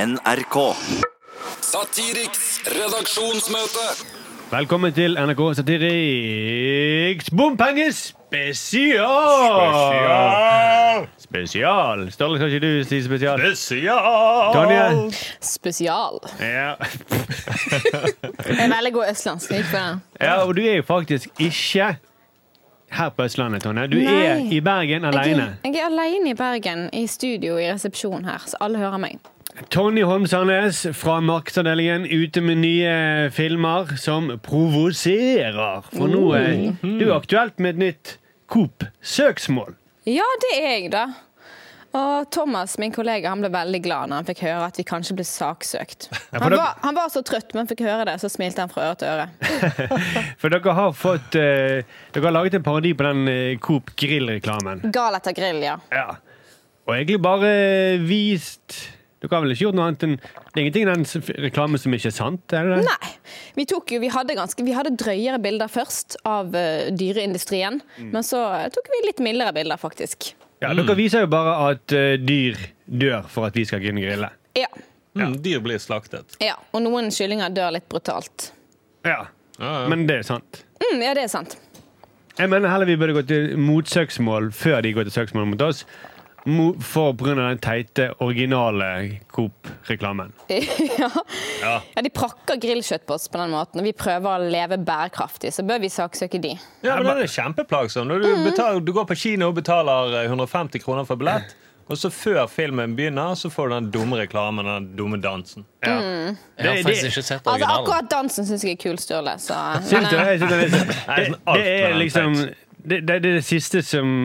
NRK. Satiriks redaksjonsmøte. Velkommen til NRK Satiriks bompengespesial! Spesial! Ståle, kan ikke du si spesial? Spesial! Tonje? Spesial. Ja. En veldig god østlandsk. Jeg gikk for den. ja, og du er jo faktisk ikke her på Østlandet, Tonje. Du Nei. er i Bergen Jeg alene. er, jeg er alene i Bergen, i studio i resepsjonen her, så alle hører meg. Tonje Holm Sandnes fra Markedsavdelingen ute med nye filmer som provoserer. For nå er Mm. du er aktuelt med et nytt Coop-søksmål. Ja, det er jeg, da. Og Thomas, min kollega, han ble veldig glad når han fikk høre at vi kanskje ble saksøkt. Han da- var, han var så trøtt, men fikk høre det, så smilte han fra øre til øre. For dere har fått eh, Dere har laget en parodi på den eh, Coop Grill-reklamen. Gal etter grill, ja. Ja. Og egentlig bare eh, vist Dere har vel ikke gjort noe annet enn Det er ingenting i den s- reklamen som ikke er sant? er det det? Nei. Vi, tok jo, vi, hadde ganske, vi hadde drøyere bilder først av eh, dyreindustrien, men så eh, tok vi litt mildere bilder, faktisk. Ja, dere viser jo bare at eh, dyr dør for at vi skal kunne grille. Ja. Mm, dyr blir slaktet. ja. Og noen kyllinger dør litt brutalt. Ja. Ja, ja. Men det er sant. Mm, ja, det er sant. Jeg mener heller vi burde gå til motsøksmål før de går til søksmål mot oss. mo- For pga. den teite, originale Coop-reklamen. ja. ja, de prakker grillkjøtt på oss på den måten, og vi prøver å leve bærekraftig, så bør vi saksøke de. Ja, men Mm. Den er kjempeplagsom. Når du, betaler, du går på kino og betaler eh, 150 kroner for billett, og så før filmen begynner, så får du den dumme reklamen og den dumme dansen. Ja. Jeg har Det- faktisk det- ikke sett Altså, originalen. akkurat dansen syns jeg er kul, Sturle. Så, Syns du? men, eh, Jeg syns den er Nei, det, men alt det med er den liksom det, det, det er det siste som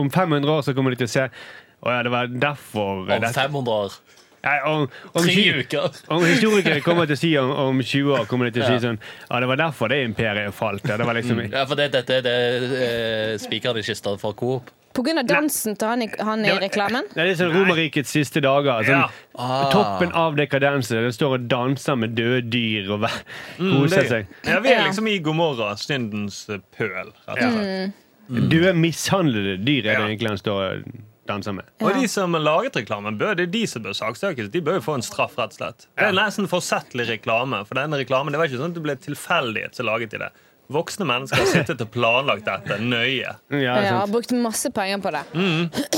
Om 500 år så kommer de til å se Å ja, det var derfor Om dette- 500 år. Nei, om, om, Tre tjue- uker. om historikere kommer til å si om, om 20 år kommer de til å si sånn Ja, det var derfor det imperiet falt. Ja, det var liksom Ja, for det, dette er det eh, spikeren i kista for Coop. eh, på grunn av dansen til han i, han i reklamen? Det er liksom Romerrikets siste dager. Sånn, Ja. Toppen av dekadense. Den står og danser med døde dyr og vær- koser Det, seg. ja, vi er Ja. liksom i Gomorra, syndens eh, pøl. Rett og slett. Døde, mishandlede dyr er Ja. det egentlig han står og danser med. Og de som har laget reklamen, bør, det er de som bør saksøkes. De bør jo få en straff, rett og slett. Det er nesten forsettlig reklame. For denne reklamen, det var ikke sånn at det ble tilfeldighet som laget i det. Voksne mennesker har sittet og planlagt dette nøye. Ja, Ja, sant. Mm. brukt masse penger på det.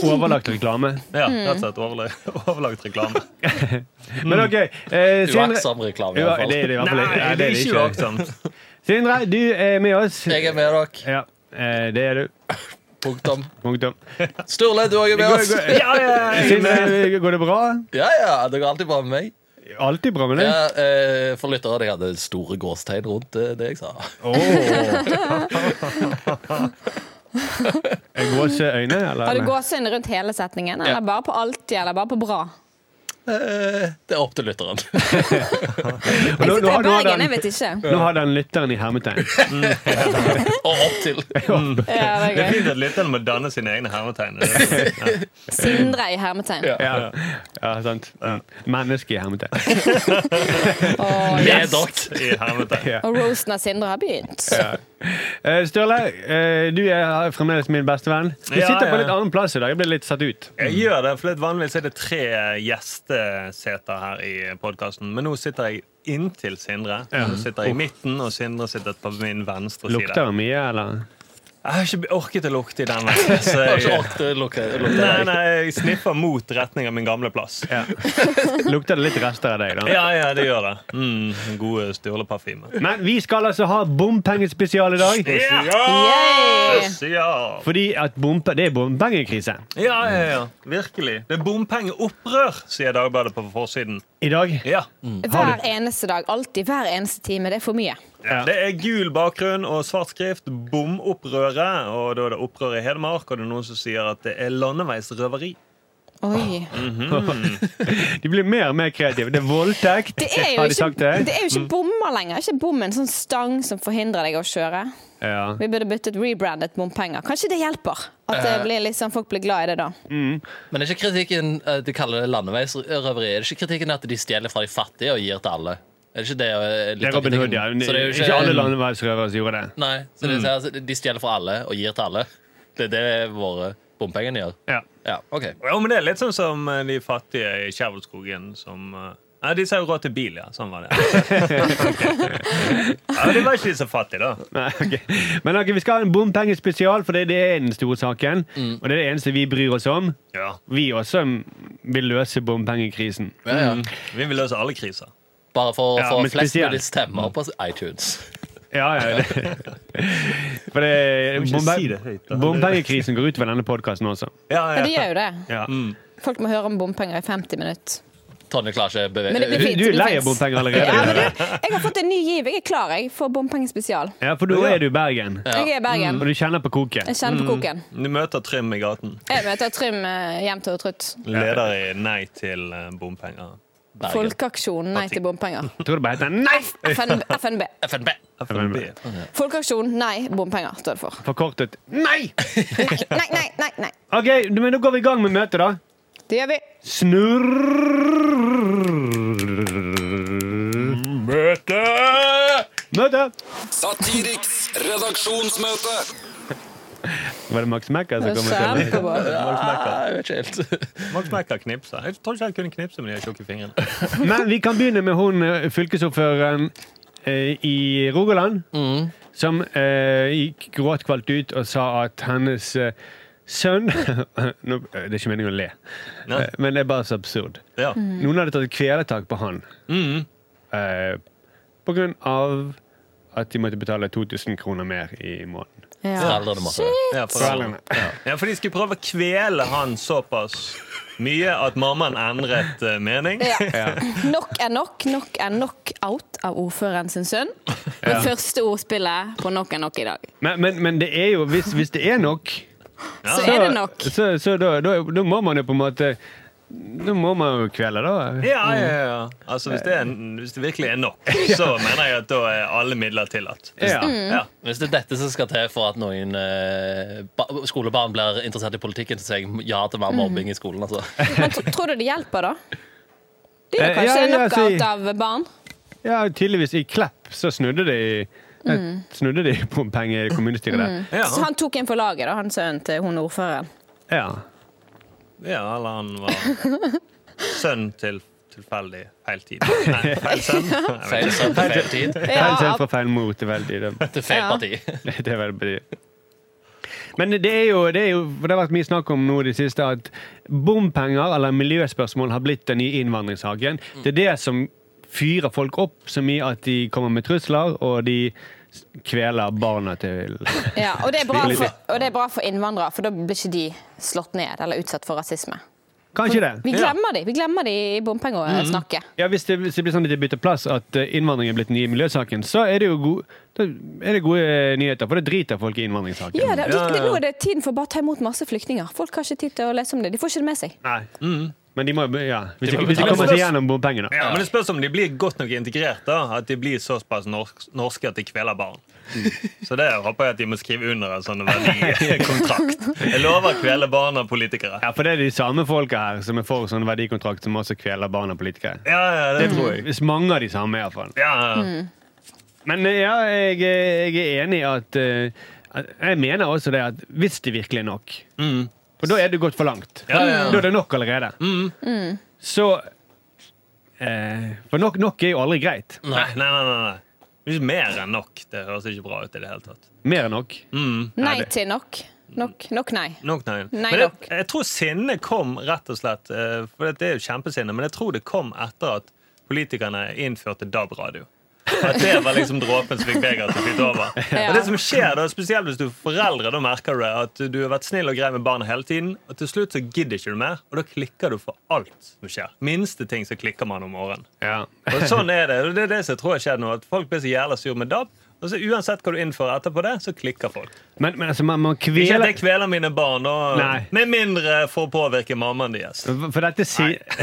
Overlagt reklame. Ja, rett og slett overla- overlagt reklame. Men OK eh, Sindre- Uaktsom reklame, Ja, iallfall. det er det i hvert fall. Nei, Ja, det er ikke uaktsomt. Sindre, du er med oss. Jeg er med dere. Ja, eh, det er du. Punktum. Punktum. Sturle, du òg er med Går, oss. går, Sindre, går det bra? Ja, ja, dere er alltid bra med meg. Alltid bra med deg? Ja, eh, for lyttere, jeg hadde store gåstegn rundt eh, det jeg sa. Jeg Gåseøyne, eller? Har du gåseøyne rundt hele setningen, eller bare på alltid, eller bare på bra? Eh, det er opp til lytteren. Og Jeg nå- nå har- nå sitter i har Bergen, jeg den- vet ikke. Nå har den lytteren i hermetegn. Og opp til. Ja, det Det er er gøy. fint at lytterne må danne sine egne hermetegn. Det er det. Sindre i hermetegn. Ja. Ja, ja sant. Menneske i hermetegn. Og, Med dere. I hermetegn. og roasten av Sindre har begynt. Eh, Sturle, eh, du er fremdeles min beste venn. Du Ja, sitter på ja. litt annen plass i dag. Jeg ble litt satt ut. Jeg gjør det, for vanligvis er det tre gjesteseter her i podkasten. Men nå sitter jeg inntil Sindre. Nå sitter jeg i midten, og Sindre sitter på min venstre Lukter side. det mye, eller? Jeg har ikke orket å lukte i den veien. Så Jeg har ikke jeg, orket å lukke lukke nei, deg. nei, jeg sniffer mot retning av min gamle plass. Ja. Lukter det litt rester av deg, da? Ja, ja, det gjør det. Mm, gode Sturle-parfyme. Men vi skal altså ha bompengespesial i dag. Yay! Ja. Fordi at bompe, det er bompengekrise. Ja, ja, ja. Virkelig. Det er bompengeopprør, sier Dagbladet på forsiden. I dag Ja. Hver eneste dag. Alltid. Hver eneste time. Det er for mye. Ja. Det er gul bakgrunn og svart skrift. Bomopprøret. Og da er det opprør i Hedmark, og det er noen som sier at det er landeveisrøveri. Oi. de blir mer og mer kreative. Det er voldtekt, Det er jo har de ikke, sagt eh? det. Mm. det er jo ikke bommer lenger. Ikke bom en sånn stang som forhindrer deg å kjøre. Ja. Vi burde byttet rebrandet bompenger. Kanskje det hjelper? At det blir liksom, folk blir glad i det da. Men er ikke kritikken eh, de kaller det landeveisrøveri, er det ikke kritikken at de stjeler fra de fattige og gir til alle? Er det ikke det? eh, litt Det er av Robin Hood, ja. kritikken? Så det er jo Ikke alle Mm. landeveisrøvere som gjorde det. Nei, så det, så altså, de stjeler fra alle og gir til alle. Det er det våre bompengene gjør. Ja. Ja, ok. Ja, men det er litt sånn som eh, de fattige i Kjærvollskogen som eh, Nei, de sa jo råd til bil, ja. Sånn var det. ja, men De var ikke så fattige, da. Nei, ok. Men ok, vi skal ha en bompengespesial, for det, det er den store saken. Og det er det eneste vi bryr oss om. Ja, Vi også mm, vil løse bompengekrisen. Ja, ja. Vi vil løse alle kriser. Bare for å Mm. Ja, få men flest spesielt. mulig stemmer på iTunes. Ja, ja. Det. For det, ikke bompe- si det høyt, da. bompengekrisen går utover denne podkasten også. Ja, Mm. Ja, de gjør jo det. Ja. Folk må høre om bompenger i 50 minutter. Tonje klarer ikke å Men det blir bevege fint. Du er det lei av finnes. bompenger Ja, men allerede. du, jeg har fått en ny giv. Jeg er klar jeg, for bompengespesial. Ja, for da er du i Bergen, Jeg er i Bergen. og du kjenner på koket. Jeg kjenner på koken. Du møter Trym i gaten. Jeg møter Trym eh, hjem til Trutt. Leder i Nei til eh, bompenger. Bergen. Folkeaksjon nei til bompenger. Jeg tror det bare heter Nei! FN, FNB. FNB. FNB. Folkeaksjon nei bompenger, står det for. Forkortet Nei! Nei, nei, nei, nei. nei. Ok, men da går vi i gang med møtet, da. Det gjør vi. Snurr... Møte! Møte! Satiriks redaksjonsmøte. Var det Max Macker som kom? og sa det? Kjempebra. Ah, jeg vet ikke helt. Max Merker knipser. Jeg tror ikke han kunne knipse med de tjukke fingrene. Men vi kan begynne med hun eh, fylkesordføreren eh, i Rogaland, som eh, gikk gråtkvalt ut og sa at hennes eh, sønn Nå, eh, Det er ikke meningen å le, Nei. eh, men det er bare så absurd. Ja. Mm. Noen hadde tatt kveletak på han eh, på grunn av at de måtte betale 2000 kroner mer i måneden. Ja. Foreldrene måtte Ja, for, ja, for de skulle prøve å kvele han såpass mye at mammaen endret eh, mening. Ja. Nok er nok. Nok er nok out av ordføreren sin sønn. Det første ordspillet på nok er nok i dag. Men, men, men det er jo, hvis, hvis det er nok, Så er det nok. så, så da, da, da må man jo på en måte Da må man jo kvele, da. Ja, ja, ja. Altså, hvis, det er, hvis det virkelig er nok, så mener jeg at da er alle midler tillatt. Ja. Mm. Ja. Hvis det er dette som skal til for at noen eh, ba skolebarn blir interessert i politikken, så sier jeg ja til Mm. mer mobbing i skolen. Altså. Men tro- tror du det hjelper, da? Det Eh, er ja, kanskje ja, nok si- out av barn. Ja, tydeligvis i Klepp så snudde de Mm. eh, Snudde de bompenger i kommunestyret der. Ja. Så han tok en for laget, da, han sønnen til hun ordføreren. Ja. ja, eller han var sønn til tilfeldig feil tid. Nei, feil sønn. Jeg vet Feil ikke. sønn til feil tid Feil selv Ja, fra feil mor til veldig dømt. til feil Ja. parti. Det er veldig Men det er, jo, det er jo For det har vært mye snakk om nå i det siste at bompenger eller miljøspørsmål har blitt den nye innvandringssaken. Mm. Det er det som fyrer folk opp så mye at de kommer med trusler, og de s- kveler barna til ja, og, det er bra for, og det er bra for innvandrere, for da blir ikke de slått ned eller utsatt for rasisme. Kanskje det? Vi glemmer de, vi glemmer de i bompengesnakket. Ja, hvis det, hvis det blir sånn at de bytter plass, at eh, innvandring er blitt den nye miljøsaken, så er det jo go da er det gode eh, nyheter, for det driter folk i innvandringssaken. Ja, det, det, Ja, ja, det, ja. nå er det tiden for å bare ta imot masse flyktninger. Folk har ikke tid til å lese om det. De får ikke det med seg. Nei. Mm. Men de må jo be- ja. hvis, De de, må hvis de betale kommer for seg det. gjennom bompengene. Ja, men det spørs om de blir godt nok integrert. da At de blir såpass norsk, norske at de kveler barn. Så det håper jeg at de må skrive under en sånn verdikontrakt. Jeg lover å kvele barn av politikere. Ja, for det er de samme folka her som er for sånn verdikontrakt som også kveler barn og politikere. Ja, ja, det tror jeg. Mm. Hvis mange av de samme, iallfall. Ja, ja. Men eh, ja, jeg, eh, jeg er enig i at eh, at- Jeg mener også det at hvis det virkelig er nok For da er det gått for langt. Mm. Ja, Mm. ja, ja. Da er det nok allerede. Så eh, For nok, nok er jo aldri greit. Nei, nei, nei, nei, nei. Hvis mer enn nok. Det høres ikke bra ut i det hele tatt. Mer enn nok. Mm. Nei det- til nok. Nok, nok nei. Nok nei. Nei, men jeg, nok. jeg tror sinnet kom rett og slett eh, For det er jo kjempesinne, men jeg tror det kom etter at politikerne innførte DAB-radio. At det var liksom dråpen som fikk begeret til å flyte over. Ja. Og det som skjer da, Spesielt hvis du er foreldre, da merker du at du har vært snill og grei med barna hele tiden. Og til slutt så gidder ikke du mer, og da klikker du for alt som skjer. Minste ting så klikker man om morgenen. Ja. Og sånn er det. og Det er det som jeg tror har skjedd nå. At folk blir så jævla sur med DAB. Og så uansett hva du innfører etterpå det, så klikker folk. Men, men altså, man, man Ikke at kveler jeg kveler mine barn, og, Nei. med mindre for å påvirke mammaen deres. For dette sier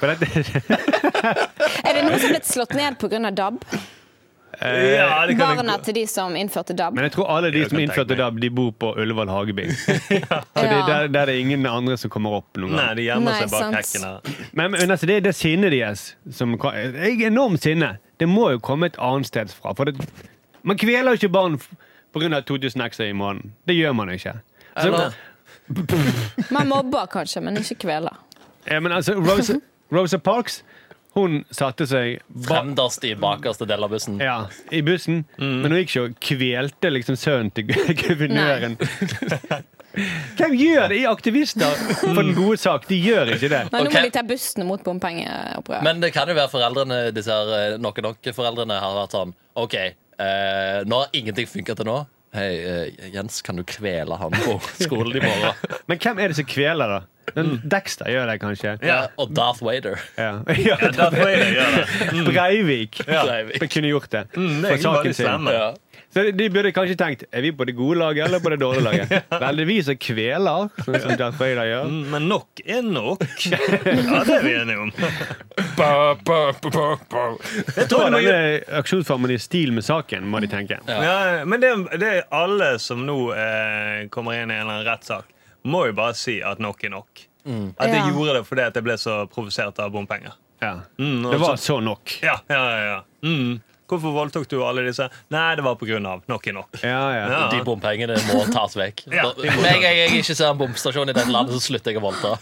For dette Er det noen som er blitt slått ned pga. DAB? Ja, det kan jeg- Barna til de som innførte DAB? Eh, Men jeg tror alle de Jeg som kan innførte tenke meg. DAB, de bor på Ullevål Hageby. Så det, Ja. der, der er det ingen andre som kommer opp noen Nei, gang. de gjemmer Nei, seg bak sant. hekken her. Men, men altså, det er det sinnet deres som ka- Jeg er enormt sinne. Det må jo komme et annet sted fra. For det, man kveler jo ikke barn f- på grunn av 2000 ekstra i måneden. Det gjør man ikke. Så, Eller- Man mobber kanskje, men ikke kveler. Ja, men altså, Rosa, Rosa Parks hun satte seg ba Fremderst i bakerste del av bussen. ja, i bussen, men hun gikk ikke og kvelte liksom sønnen til guvernøren. Hvem gjør det i aktivister for den gode sak? De gjør ikke det. Nei, Ok. Nå må de ta bussen mot bompengeopprøret. Men det kan jo være foreldrene disse her, eh, Noen nok foreldrene har vært sånn OK, eh, nå har ingenting funket til nå. Hei, eh, Jens, kan du kvele han på skolen i morgen? Men hvem er det som kveler, da? Den Dexter gjør det kanskje. Ja, og Darth Vader. Ja. Ja, mm. Da får jeg det gjøre. Breivik Breivik. kunne gjort det. for Mm, det er egentlig bare saken de sin. slemme. Ja. Så de- De burde kanskje tenkt er vi på det gode laget eller på det dårlige laget. Vel, det er vi som kveler, sånn som Darth Vader gjør. Mm, Men nok er nok. Ja, det er vi enige om. Jeg Så tror det må gjø- denne aksjonsformen i stil med saken, må de tenke. ja, men det, det er alle som nå eh, kommer inn i en eller annen rettssak, må jo bare si at nok er nok. At jeg Ja. gjorde det fordi at jeg ble så provosert av bompenger. Ja. Mm, og Det var så- så nok. Ja, ja, ja, ja. Mm. Hvorfor voldtok du alle disse? Nei, det var på grunn av. Nok er nok. Ja, ja. Ja. De bompengene må tas vekk. Ja, de må Med en gang jeg ikke ser en bomstasjon i dette landet, så slutter jeg å voldta.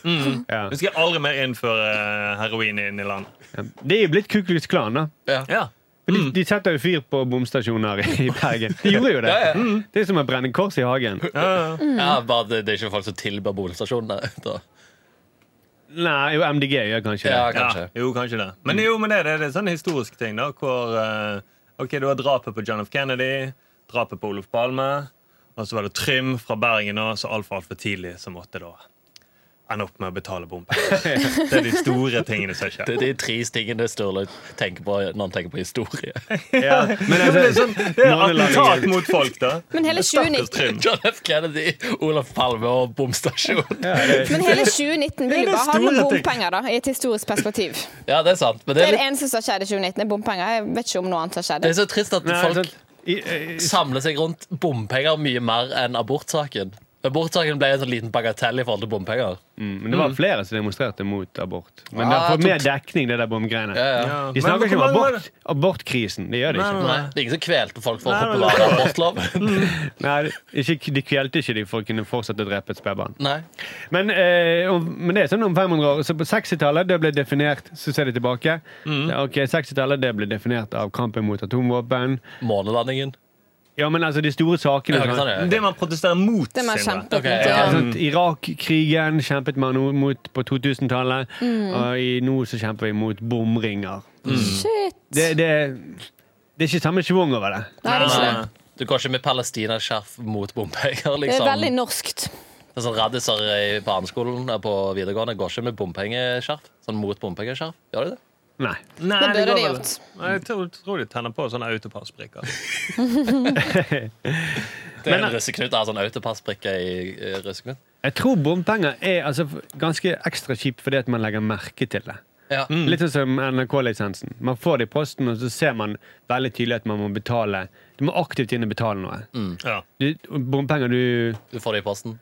ja. Vi skal aldri mer innføre eh, heroin inn i landet. Det er jo blitt Ku Klux Klan, da. Ja. Ja. For De, de setter jo fyr på bomstasjoner i Bergen. De gjorde jo det. Ja, ja. Mm. Det er som å brenne kors i hagen. Ja, bare at det, det er ikke folk som tilbyr bomstasjonene. da. Nei, jo, MDG gjør kanskje Ja, det. kanskje. Ja, jo, kanskje det. Men jo, men det, det, det er sånne historiske ting, da, hvor eh, Ok, du har drapet på John F. Kennedy, drapet på Olof Palme, og så var det Trym fra Bergen, og så altfor, altfor tidlig så måtte da ende opp med å betale bompenger. Det er de store tingene som skjer. Det er de tre tingene Sturle tenker på når han tenker på historie. Ja. Men Ja, men det er altså, sånn, det er månelandingen- attentat mot folk, da. Men hele 2019 Stakkars Trym. John F. Kennedy, Olaf Palme og bomstasjon. Men hele 2019 Det er vil jo bare det handle om store ting. bompenger, da, i et historisk perspektiv. Ja, det er sant. Men Det er det er, det litt, eneste som har skjedd i 2019, er bompenger. Jeg vet ikke om noe annet som har skjedd. det er så trist at Nei, folk sant. I- eh, samler seg rundt bompenger mye mer enn abortsaken. Abortsaken ble en sånn liten bagatell i forhold til bompenger. Mm, Men Mm. det var flere som demonstrerte mot abort. Men det Ah, har fått mer tok- dekning, det der bomgreiene. Ja, ja. De snakker Men ikke om hvor mange var abort, abortkrisen. Det gjør de ikke. Nei, det er ingen som kvelte folk for å Nei, men- populare abortlov. Nei, ikke, de kvelte ikke de for å kunne fortsette å drepe et spedbarn. Nei. Men, eh, om, men det er sånn om 500 år. Så på 60-tallet det ble definert Så ser de tilbake. Mm. Ja, Ok, 60-tallet det ble definert av kampen mot atomvåpen. Månelandingen. Ja, men altså de store sakene. Ja, ikke sant, sånn, ja. Det man protesterer mot, Det man Sindre. kjemper Ok, mot, ja. ja. sånn, Irak-krigen kjempet man no- mot på 2000-tallet, og i, nå så kjemper vi mot bomringer. Shit. Det, det, det er ikke samme schwung over det. Nei, det er ikke det. Du går ikke med palestinaskjerf mot bompenger, Det liksom. er veldig norskt. Det er sånn Raddiser i- på barneskolen og på videregående går ikke med bompengeskjerf. Sånn mot bompengeskjerf. Gjør de det? Nei. Nei, Det går burde de vel- gjort. Nei, Jeg tror, tror de tenner på sånne autopassbrikker. Det er en russeknut av sånn autopassbrikke i eh, russeknut. Jeg tror bompenger er altså, f- ganske ekstra kjipt fordi at man legger merke til det. Ja. Litt sånn som NRK-lisensen. Man får det i posten, og så ser man veldig tydelig at man må betale. Du må aktivt inn og betale noe. Mm. Ja. Du, bompenger, du, Du får det i posten.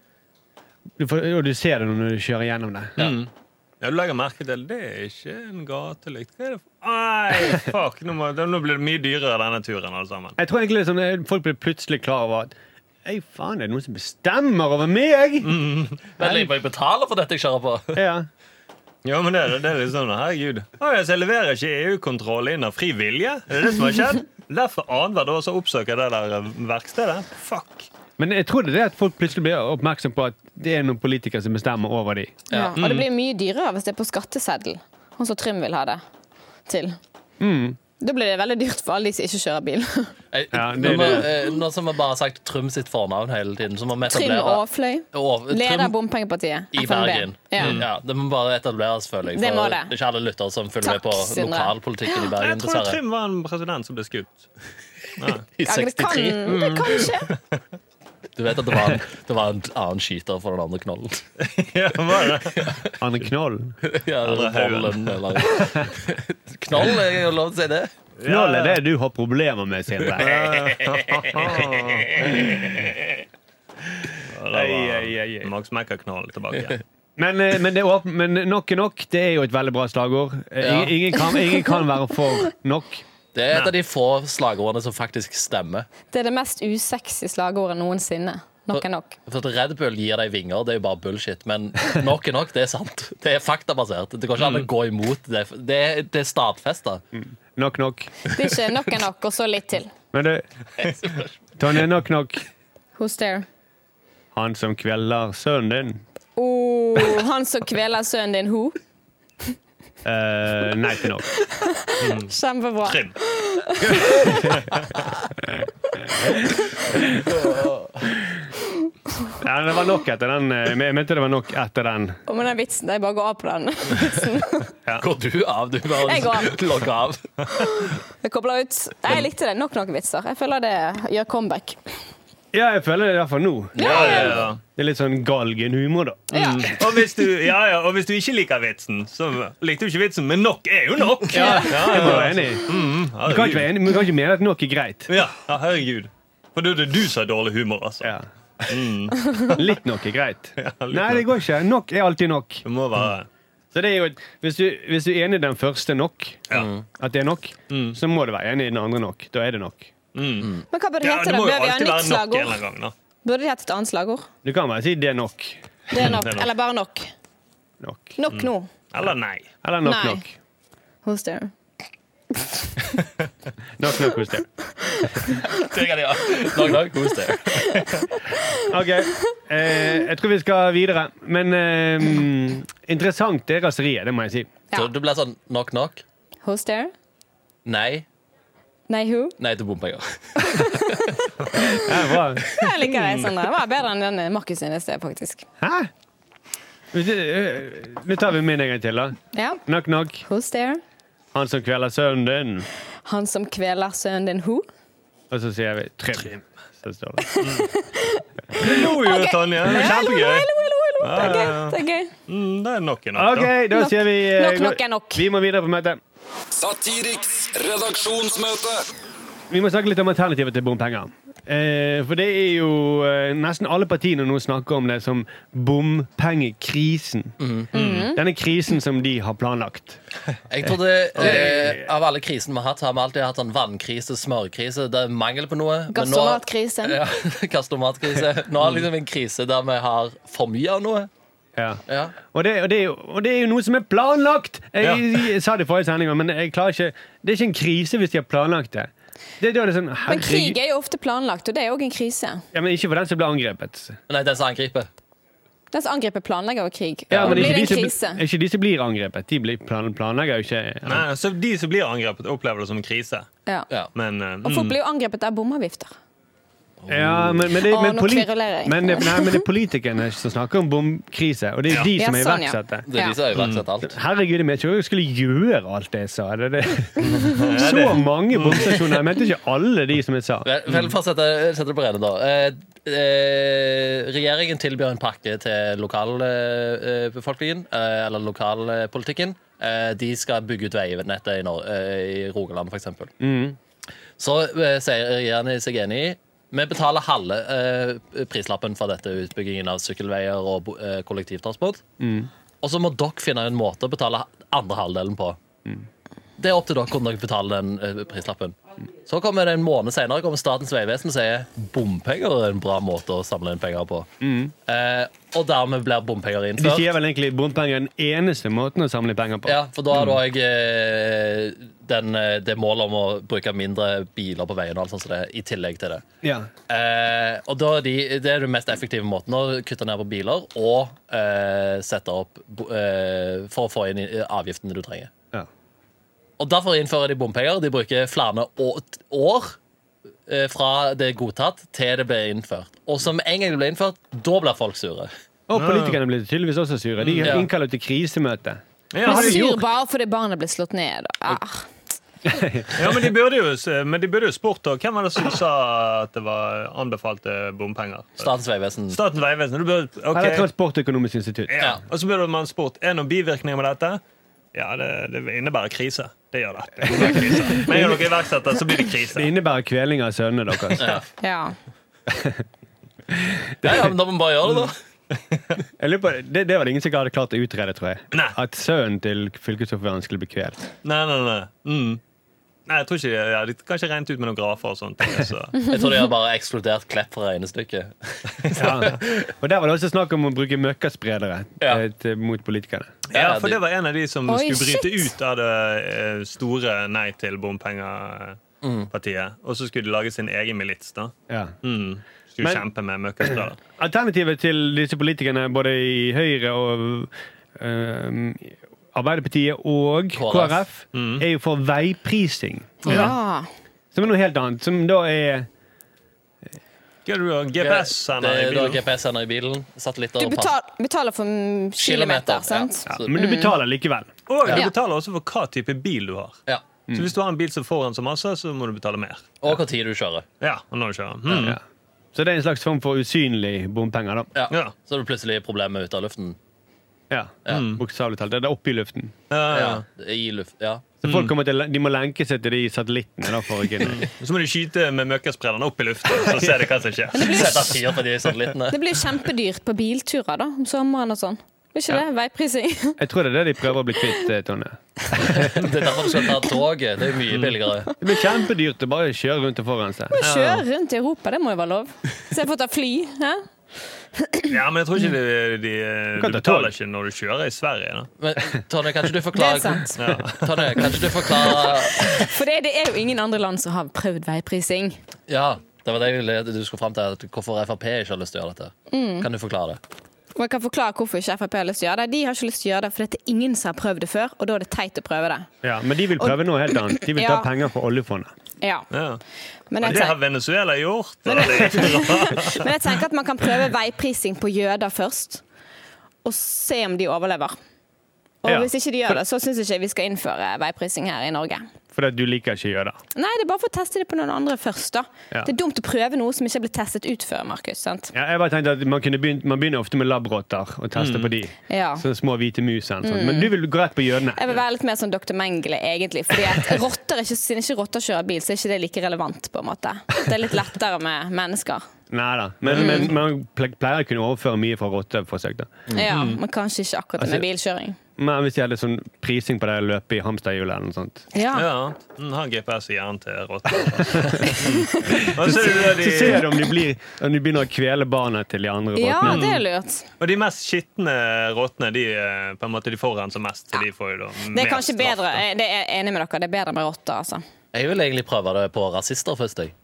du får, Og du ser det når du kjører gjennom det. Ja, du legger merke til det. Det er ikke en gatelykt. Hva er det for Nei, fuck! Nå, må, nå blir det mye dyrere denne turen, alle sammen. Jeg tror egentlig liksom, eh, folk blir plutselig klar over at Ei, faen, er det noen som bestemmer over meg?! Men jeg må jo betale for dette jeg kjører på. Ja. Ja, men det, er- det er litt sånn, herregud. Å, jeg så leverer ikke EU-kontroll inn av fri vilje. Er det det som har skjedd? Derfor annethvert år så oppsøker jeg det der eh, verkstedet. Fuck! Men jeg tror det er det at folk plutselig blir oppmerksom på at det er noen politikere som bestemmer over dem. Ja. Og det blir mye dyrere hvis det er på skatteseddel, sånn som Trym vil ha det til. Da blir det veldig dyrt for alle de som ikke kjører bil. Jeg, Ja, det nå, er må, det. eh, nå som vi bare har sagt Trym sitt fornavn hele tiden, så må vi Trym etablere Aafløy, Å, Trym leder av Bompengepartiet. i FNB. Bergen. Mm. Ja. Ja, det må bare etableres, føler jeg. For Det må det. det er ikke alle lyttere som følger Takk, med på Sindre. lokalpolitikken i Jeg Bergen, tror dessverre. Trym var en president som ble skutt. I Ja, det, 63. kan, det kan skje. Du vet at det var, en, det var en annen skyter fra den andre knollen. Ja, var det? Anne Knoll. Ja, eller haugen. vollen, eller Knoll, er det lov til å si det? Knoll er det du har problemer med, Sindre. Ja, det Ei, ei, ei, ei. var Max Mekka-knall tilbake. Men, eh, men, det er åp- men nok er nok. Det er jo et veldig bra slagord. Eh, Ja. Ingen, ingen, kan, ingen kan være for nok. Det er et av de få slagordene som faktisk stemmer. Det er det mest usexy slagordet noensinne. Nok er nok. For at Red Bull gir deg vinger, det er jo bare bullshit. Men nok er nok, det er sant. Det er faktabasert. Det går ikke an å gå imot det. Det er, det er stadfesta. Nok, nok. Det er ikke nok er nok, og så litt til. Men det Tonje, nok, nok. Who's there? Han som kveller sønnen din. Oh, han som kveler sønnen din, ho. Eh, nei til nok. Kjempebra. Trim. Ja, det var nok etter den. eh, Jeg mente det var nok etter den. Og med den vitsen, jeg bare går av på den. Går du av? Du Jeg går bare av. logger av. Jeg kobler ut. Nei, jeg likte det. Nok nok vitser. Jeg føler det gjør comeback. Ja, jeg føler det i hvert fall nå. Ja, ja, ja. Det er litt sånn galgenhumor, da. Ja. Og hvis, du, ja, ja, og hvis du ikke liker vitsen, så likte du ikke vitsen, men nok er jo nok. Ja, ja, Jeg må være ja. enig. Du kan ikke være enig, men du kan ikke mene at nok er greit. Ja, ja, herregud. For det er det du som har dårlig humor, altså. Ja. Litt nok er greit. litt Nei, det går ikke. Nok er alltid nok. Det må være Så det er jo et, hvis, du, hvis du er enig i den første nok, Ja, at det er nok, så må du være enig i den andre nok. Da er det nok. Men hva burde det ja hete? det da? må jo Bør vi alltid være ha nytt nok en eller slagord? annen gang. Da. Burde det hete et annet slagord? Du kan bare si det er nok. Det er nok. Det er nok. Eller bare nok. Nok. Nok nå. Eller nei. Eller nok Nei. nok. Who's there? Nok nok hos deg. Det kan jeg gjøre. Nok, nok. Kos deg. Ok, eh, jeg tror vi skal videre. Men eh, interessant er raseriet, det må jeg si. Ja. Så det blir sånn nok, nok. Who's there? Nei. Nei, who? Nei til bompenger. Ja, bra. Jeg liker det sånn. Det var bedre enn den Markus sin i sted, faktisk. Hæ? Hvis det- eh, Nå tar vi min en gang til, da. Ja. Knock knock. Who's there? Han som kveler sønnen din. Han som kveler sønnen din, who? Og så sier vi trim. Så står det. Lo jo, Ok. Tonje. Det var Hallo, hallo, kjempegøy. hallo, hallo. Det Ja, er gøy. ja, ja. Det er gøy. Mm, Det er nok en nok, da. OK, da Nok. sier vi eh, Nok, nok gå- er nok. Vi må videre på møtet. Satiriks redaksjonsmøte. Vi må snakke litt om alternativet til bompenger. Eh, for det er jo eh, nesten alle partiene nå snakker om det som bompengekrisen. Mm. Denne krisen som de har planlagt. Jeg trodde eh, Av alle krisene vi har hatt, har vi alltid hatt sånn vannkrise, smørkrise. Det er mangel på noe. men nå- Gastromatkrisen. Ja, gastromatkrise. Nå har vi liksom en krise der vi har for mye av noe. Ja. Ja. Og det, og, det, er jo- og det er jo noe som er planlagt! Jeg, jeg sa det i forrige sending, men jeg klarer ikke, det er ikke en krise hvis de har planlagt det. det, er da det er sånn, Men krig herregud- er jo ofte planlagt, og det er òg en krise. ja, men ikke for den som ble angrepet. Nei, den som angriper. Den som angriper, planlegger jo krig. Ja, og men blir det ikke de, en som, krise. ikke de som blir angrepet. De blir plan, planlegger jo ikke Nei, så de som blir angrepet, opplever det som en krise. Ja. Ja. Men eh, Og folk mm, blir jo angrepet av bomavgifter. Ja, men, men, det, Å, men, nå polit- kverulerer jeg. men, det- nei, men det er politikerne som snakker om bomkrise, og det er jo de Ja, som er sånn, ja. iverksatt det. Det er Ja. de som har iverksatt alt. Herregud, jeg mente ikke at jeg skulle gjøre alt det jeg sa. Det, er det. Så mange bomstasjoner. Jeg mente ikke alle de som jeg sa. Vel, vel, for å sette, sette det på rene, da. Eh, eh, regjeringen tilbyr en pakke til lokalbefolkningen, eh, eller lokalpolitikken. Eh, de skal bygge ut veinettet i, Nor eh, i Rogaland, f.eks. Mm. Så eh, sier regjeringen seg enig i vi betaler halve eh, prislappen for dette utbyggingen av sykkelveier og bo- eh, kollektivtransport. Og så må dere finne en måte å betale andre halvdelen på. Det er opp til dere hvordan dere betaler den eh, prislappen. Så kommer det en måned senere kommer Statens vegvesen og sier bompenger er en bra måte å samle inn penger på. Eh, og dermed blir bompenger De innført. sier vel egentlig bompenger er den eneste måten å samle penger på. Ja, for da har du òg eh, den, eh, det målet om å bruke mindre biler på veien og alt sånt som det, i tillegg til det. Ja. Eh, og da er de, Det er den mest effektive måten å kutte ned på biler og eh, sette opp bo- eh, for å få inn i- avgiftene du trenger. Ja. Og derfor innfører de bompenger. De bruker flere å- år eh, fra det er godtatt til det blir innført. Og som en gang det blir innført, da blir folk sure. Og Ah. politikerne blir tydeligvis også sure. De Mm, Ja. har innkaller til krisemøte. mm. ja, Men har de sur gjort- bare fordi barnet ble slått ned. og- Ah. ja, men de burde jo, s- men de burde jo spurt, da. Hvem var det som sa at det var anbefalte bompenger? Statens vegvesen. Statens vegvesen. Du burde, ok. Eller Transportøkonomisk institutt. Ja. Og så burde man spurt er det noen bivirkninger med dette. Ja, det, det innebærer krise. Det gjør det. det innebærer krise. Men gjør dere iverksetter, så blir Det det krise. innebærer kveling av sønnene deres. Ja. Ja, ja, men da må vi bare gjøre det, da. Jeg lurer på, det, det var det ingen som hadde klart å utrede, tror jeg. Nei. At sønnen til fylkesordføreren skulle bli kvelt. Nei, nei, nei. Mm. Nei, jeg tror ikke, ja, De kan ikke regne ut med noen grafer og sånne ting. Så. Jeg tror de har bare ekskludert Klepp fra regnestykket. Ja. Og der var det også snakk om å bruke møkkaspredere Ja. eh, til- mot politikerne. Ja, for de- det var en av de som Oi, skulle shit. bryte ut av det eh, store nei til bompengepartiet. Og så skulle de lage sin egen milits, da. Ja. Mm. Skulle Men- kjempe med møkkastrader. Alternativet til disse politikerne både i Høyre og eh, Arbeiderpartiet og KrF, er jo for veiprising. Ja. Som er noe helt annet. Som da er Hva er det du har? Det- GPS-sender i Du har bilen? GPS-sender i bilen. Satellitter Du og pass. betal, betaler for mm, kilometer, sant? Ja. ja, Så- Men du betaler likevel. Og du Ja. betaler også for hva type bil du har. ja. Så hvis du har en bil som forurenser masse, så må du betale mer. Og hvor tid du kjører. Ja, og når du kjører. Mm. Ja. Så det er en slags form for usynlig bompenger, da. Ja. Ja. Så er det plutselig problemer ute av luften. Ja. Mm. Bokstavelig talt. Det er oppe i luften. Mm. Ja, ja. Ja. I luft, ja. Så folk kommer til, de må lenke seg til de satellittene. da, for å kunne... Så må du skyte med møkkasprederne opp i luften, så ser du hva som skjer. Sette fyr på de satellittene. Det blir jo kjempedyrt på bilturer da, om sommeren og sånn. Blir ikke det? Veiprising. Jeg tror det er det de prøver å bli kvitt. eh, Tonje. Det er derfor du skal ta toget. Det er mye billigere. Det blir kjempedyrt å bare kjøre rundt og forurense. Kjøre rundt i Europa, det må jo være lov. Så jeg får ta fly. Hæ? Ja, men jeg tror ikke de, de, kan Mm. du ta tog. betaler ikke når du kjører i Sverige. Da. Men Tonje, kan ikke du Det er forklare sant. Tonje, kan ikke du forklare For det, det er jo ingen andre land som har prøvd veiprising. Ja, det var det jeg ville du skulle fram til. at Hvorfor Frp ikke har lyst til å gjøre dette. Mm. Kan du forklare det? Og jeg kan forklare hvorfor ikke Frp har lyst til å gjøre det. De har ikke lyst til å gjøre det fordi det er ingen som har prøvd det før, og da er det teit å prøve det. Ja, men de vil prøve noe helt annet. De vil ta Ja. penger fra oljefondet. Ja. Ja. Men Men, jeg det har tenker, Venezuela gjort. Eller det er ikke bra. men jeg tenker at man kan prøve veiprising på jøder først, og se om de overlever. Og Ja. hvis ikke de gjør det, så syns jeg ikke vi skal innføre veiprising her i Norge. Fordi at du liker ikke jøder. Nei, det er bare for å teste det på noen andre først, da. Ja. Det er dumt å prøve noe som ikke ble testet ut før, Markus. sant? Ja, jeg bare tenkte at Man, kunne begynt, man begynner ofte med labrotter og tester på de. Mm. Ja. Mm. Sånne små hvite mus. eller noe sånt. Men du vil gå rett på jødene. Jeg vil være litt mer som Dr. Mengele, egentlig. fordi at rotter er ikke, Siden ikke rotter kjører bil, så er ikke det like relevant. på en måte. Det er litt lettere med mennesker. Neida. Men, Mm. men man ple- pleier å kunne overføre mye fra rotteforsøk. da. Ja, Men kanskje ikke akkurat det med bilkjøring. Men hvis de hadde sånn prising på det å løpe i hamsterhjulet eller noe sånt. Ja, Ja, mm, ha en GPS i hjernen til rotter. Mm. Og så er det Så ser de, du om de, blir, om de begynner å kvele barna til de andre ja rottene. det er lurt. og de mest skitne rottene, de, eh, på en måte, de forurenser mest. Så de får jo da Det er mer kanskje straff, bedre. da. eh, Det er jeg enig med dere. Det er bedre med rotter, altså. Jeg vil egentlig prøve det på rasister først. jeg.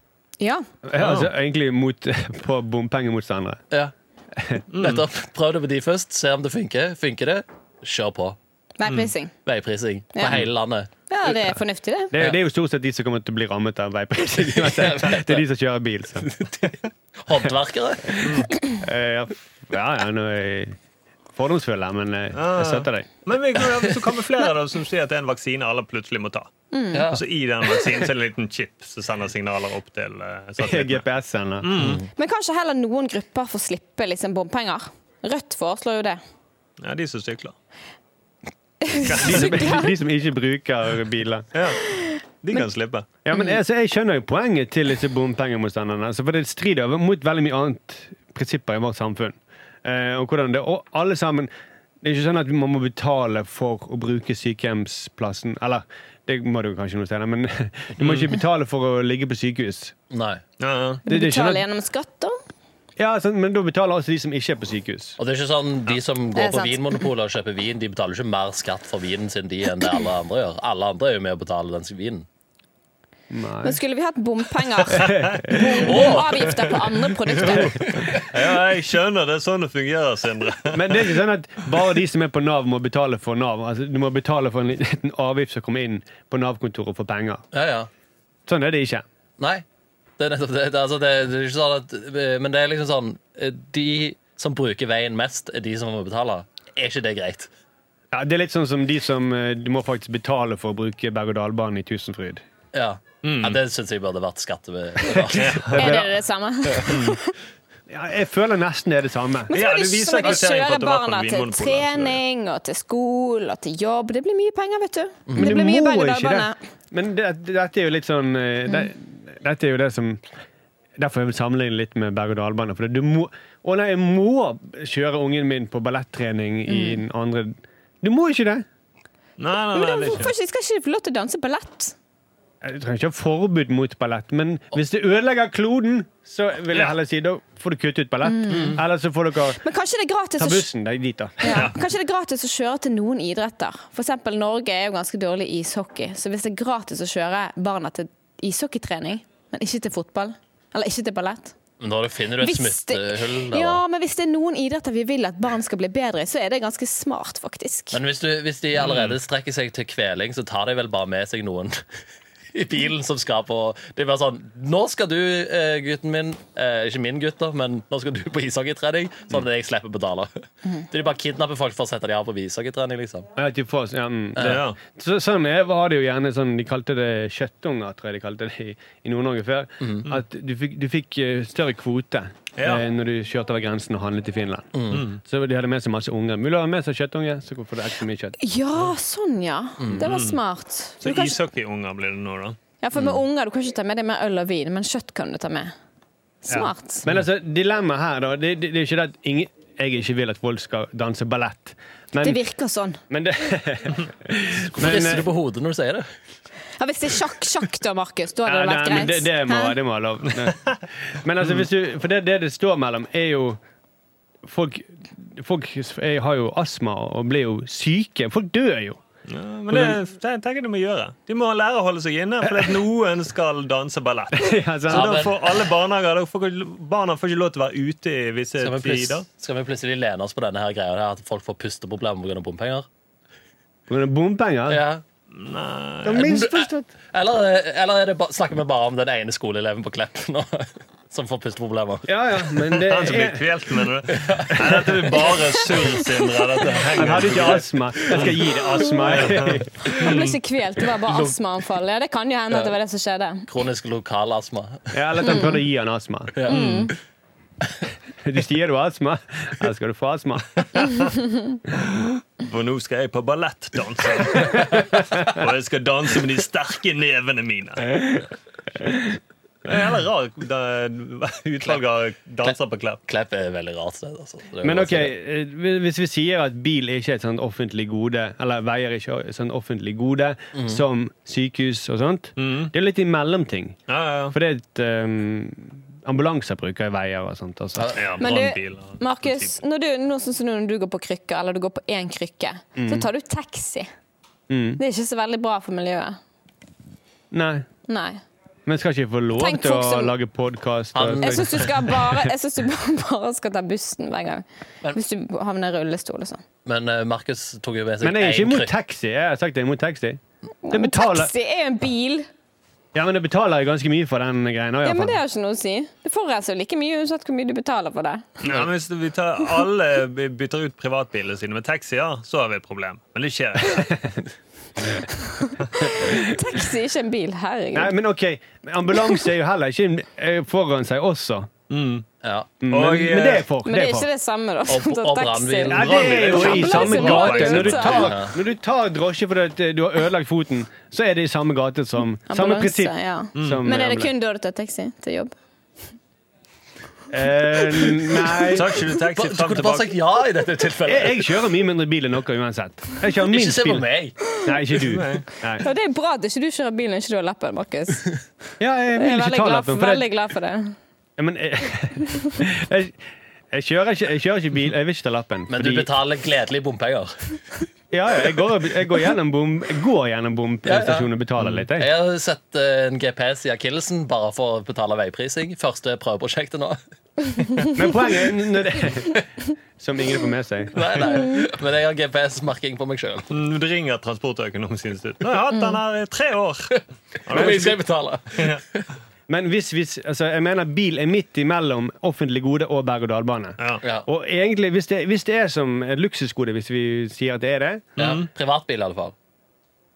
Ja. Ja, altså, egentlig mot, på bompengemotstandere. Ja. Mm. Nettopp. Prøv det på de først. Se om det funker. Funker det, kjør på. Mm. Veiprising. Veiprising på Ja. hele landet. Ja, det er fornuftig, det. Det, det er jo stort sett de som kommer til å bli rammet av veiprising. uansett. Det er de som kjører bil. Så. Håndverkere. Eh, Ja, ja, ja nå er jeg fordomsfull her, men eh, Ah. jeg støtter deg. Men vi kan vi kan kamuflere det som sier at det er en vaksine alle plutselig må ta. Mm. Ja. Og så i den vaksinen så er det en liten chip som sender signaler opp til eh, satellittene. GPS-en. da. Men kanskje heller noen grupper får slippe liksom, bompenger. Rødt foreslår jo det. Ja, de som sykler. De som, de som ikke bruker biler. Ja. De kan slippe. Ja, men altså, Jeg skjønner jo poenget til disse bompengemotstanderne. altså, For det strider over mot veldig mye annet prinsipper i vårt samfunn. Eh, og hvordan det, og alle sammen Det er ikke sånn at man må betale for å bruke sykehjemsplassen. Eller det må du kanskje noe steder, men du må ikke betale for å ligge på sykehus. Nei. Ja, ja. Det- det er ikke Betaler noe- gjennom skatt, da. ja, sånn, men da betaler også de som ikke er på sykehus. Og det er ikke sånn, De som Det er går på sant. Vinmonopolet og kjøper vin, de betaler ikke mer skatt for vinen sin de enn det alle andre gjør. Alle andre er jo med å betale den vinen. Nei. Men skulle vi hatt bompenger? Bomavgifter på andre produkter? ja, jeg skjønner. Det er sånn det fungerer, Sindre. Men det er ikke sånn at bare de som er på Nav, må betale for Nav. Altså, du må betale for en liten avgift som kommer inn på Nav-kontoret for penger. Ja, ja. Sånn er det ikke. Nei. Det er nettopp det. Det, er altså, det, det er ikke sånn at Men det er liksom sånn eh, De som bruker veien mest, er de som må betale. Er ikke det greit? Ja, det er litt sånn som de som eh, du må faktisk betale for å bruke berg-og-dal-banen i Tusenfryd. Ja. ja det syns jeg burde vært skatte... Er det det samme? Ja, jeg føler nesten det er det samme. Men så Ja, må det de, viser så må kvittering på de at kjøre det var på altså. barna til Vinmonopolet, så det- trening og til skole og til jobb. Det blir mye penger, vet du. Mm. Men Det du blir mye må berg og ikke det. dalbane. Men det, dette er jo litt sånn eh, det, Dette er jo det som Derfor jeg vil sammenligne litt med berg-og-dal-bane. For du må Å nei, jeg må kjøre ungen min på ballettrening i Mm. den andre Du må ikke det! Nei, nei, Men nei, da, det er hvorfor ikke. ikke? skal ikke de få lov til å danse ballett? Jeg trenger ikke ha forbud mot ballett, men hvis det ødelegger kloden, så vil jeg heller si da får du kutte ut ballett. Eller så får dere Mm. Men kanskje det er gratis ta å bussen deg dit, da. Ja. Kanskje det er gratis å kjøre til noen idretter. For eksempel Norge er jo ganske dårlig i ishockey, så hvis det er gratis å kjøre barna til ishockeytrening, men ikke til fotball, eller ikke til ballett Men da finner du et Hvis det, smutthull der. da. ja, men hvis det er noen idretter vi vil at barn skal bli bedre i, så er det ganske smart, faktisk. Men hvis, du, hvis de allerede strekker seg til kveling, så tar de vel bare med seg noen i bilen som skal på Det er bare sånn Nå skal du, eh, gutten min eh, Ikke min gutt, da, men nå skal du på ishockeytrening, sånn at jeg slipper å betale. Mm. Så de bare kidnapper folk for å sette de av på ishockeytrening, liksom. Ja, at de får- ja, mm, det- Ja. Så, sånn er, var det jo gjerne sånn De kalte det kjøttunger, tror jeg de kalte det i, i Nord-Norge før. At du fikk, du fikk eh, større kvote Mhm. Ja. Mhm. eh, når du kjørte over grensen og handlet i Finland. Mm. Så de hadde med seg masse unger. Mulig å ha med seg kjøttunge, så får du ekstra mye kjøtt. Ja, sånn, ja. Mm. Det var smart. Du Så kan, ikke- ishockeyunger blir det nå, da. ja, for Mm. med unger du kan ikke ta med deg mer øl og vin, men kjøtt kan du ta med. Smart. Men altså, dilemmaet her, da, det, det, det er ikke det at ingen, jeg ikke vil at folk skal danse ballett. Men, Det virker sånn. men eh, det Hvorfor rister du på hodet når du sier det? Ja, hvis det er sjakk, sjakk da, Markus, da Ja, hadde det vært nei, men det, greit. det, må, Hæ? det må være lov. Nei. Men altså, hvis du, for det, det det står mellom, er jo Folk, folk er, har jo astma og blir jo syke. Folk dør jo. Ja, men det det tenker jeg de må gjøre. De må lære å holde seg inne, fordi at noen skal danse ballett. Ja, Så sant? da men- får alle barnehager da får ikke, Barna får ikke lov til å være ute i visse Skal vi, tider. plutselig, skal vi plutselig lene oss på denne her greia her, at folk får pusteproblemer pga. bompenger? På grunn av bompenger. Ja. Det er misforstått. Eller, eh, eller er det ba, snakker vi bare om den ene skoleeleven på Klepp nå, som får pusteproblemer? Ja, ja, men det Han som blir er kvelt, mener du? Nei, dette er bare surr, Sindre. Dette Han henger hadde ikke astma. Jeg skal gi deg astma. Han ble ikke kvelt, det var bare astmaanfall. Ja, det kan jo hende at det var det som skjedde. Kronisk lokalasma. Ja, eller at han prøvde å gi han astma. Ja. Mm. Du sier du har astma, eller skal du få astma? For nå skal jeg på ballettdanse. Og jeg skal danse med de sterke nevene mine. Det er heller rart da utvalg av danser på Klepp. Klepp er et veldig rart sted. Altså. Det er Men bare ok, eh, hvis vi sier at bil ikke er et sånt offentlig gode, eller veier ikke er et sånt offentlig gode, Mhm. som sykehus og sånn, det er jo litt i mellomting. Ja, ja, For det er et um, Ambulanser bruker jo veier og sånt. Altså. ja. ja. Men brannbil du, og- Markus, når du, nå sånn som nå når du går på krykker, eller du går på én krykke, så Mm. tar du taxi. Det er ikke så veldig bra for miljøet. Nei. Nei. Men skal ikke jeg få lov Tenk til å folk som- lage podkast? Han- Jeg syns du, skal bare, jeg synes du bare- bare skal ta bussen hver gang. Hvis du havner i rullestol og sånn. Men eh, Markus tok jo med seg Men jeg er ikke en imot krykke. taxi. Jeg har sagt jeg er imot taxi. Det betaler, Taxi er jo en bil! ja, men jeg betaler jo ganske mye for den greia. Ja, men Det har ikke noe å si. Det forurenser jo like mye uansett hvor mye du betaler for det. Ja, men hvis vi tar alle by- bytter ut privatbilene sine med taxier, så har vi et problem. Men det skjer ikke. Taxi er ikke en bil. Nei, Herregud. men ok, men ambulanse er jo heller ikke en- eh, foran seg også. Ja. Mm, Og, men, eh, men det er for. Men det er er for. ikke det samme, da. Og- som å ta og taxi. brannbil. Ja, det er jo i samme gate. Når du liksom. Ja. tar, når du tar drosje fordi at eh, du har ødelagt foten, så er det i samme gate som Samme Ambulanse, prinsipp. Mm. Ja. Mm. Som eh, Men er det ambulanse. kun da du tar taxi til jobb? Eh, nei. Tar ikke du taxi Du fram kunne bare sagt tilbake? ja i dette tilfellet. Jeg, jeg kjører mye mindre bil enn dere uansett. Jeg kjører Ikke minst se på bil. meg. Nei, ikke du. Nei. Nei. Ja, det er bra at ikke du kjører bil når ikke du har lappen, Markus. Ja, jeg Jeg er vil ikke veldig ta glad, lappen. For veldig det, glad for det. ja, men, jeg, jeg, jeg, kjører ikke, jeg kjører ikke bil. Jeg vil ikke ta lappen. Men du fordi- betaler gledelige bompenger. ja, ja, jeg, går, jeg går gjennom bom Jeg går gjennom bomstasjonen og betaler litt. Jeg. Jeg har sett eh, en GPS i akillesen bare for å betale veiprising. Første prøveprosjektet nå. Men poenget er når det, Som ingen får med seg. Nei, nei. Men jeg har GPS-marking på meg sjøl. Mm, Du ringer Transportøkonomisk institutt. Nå har jeg hatt den her i tre år! Hvor mye skal jeg betale? Men hvis, hvis, altså, jeg mener bil er midt imellom offentlig gode og berg-og-dal-bane. Ja. Ja. Og egentlig, hvis det, hvis det er som et luksusgode, hvis vi sier at det er det Ja. Privatbil, i alle fall.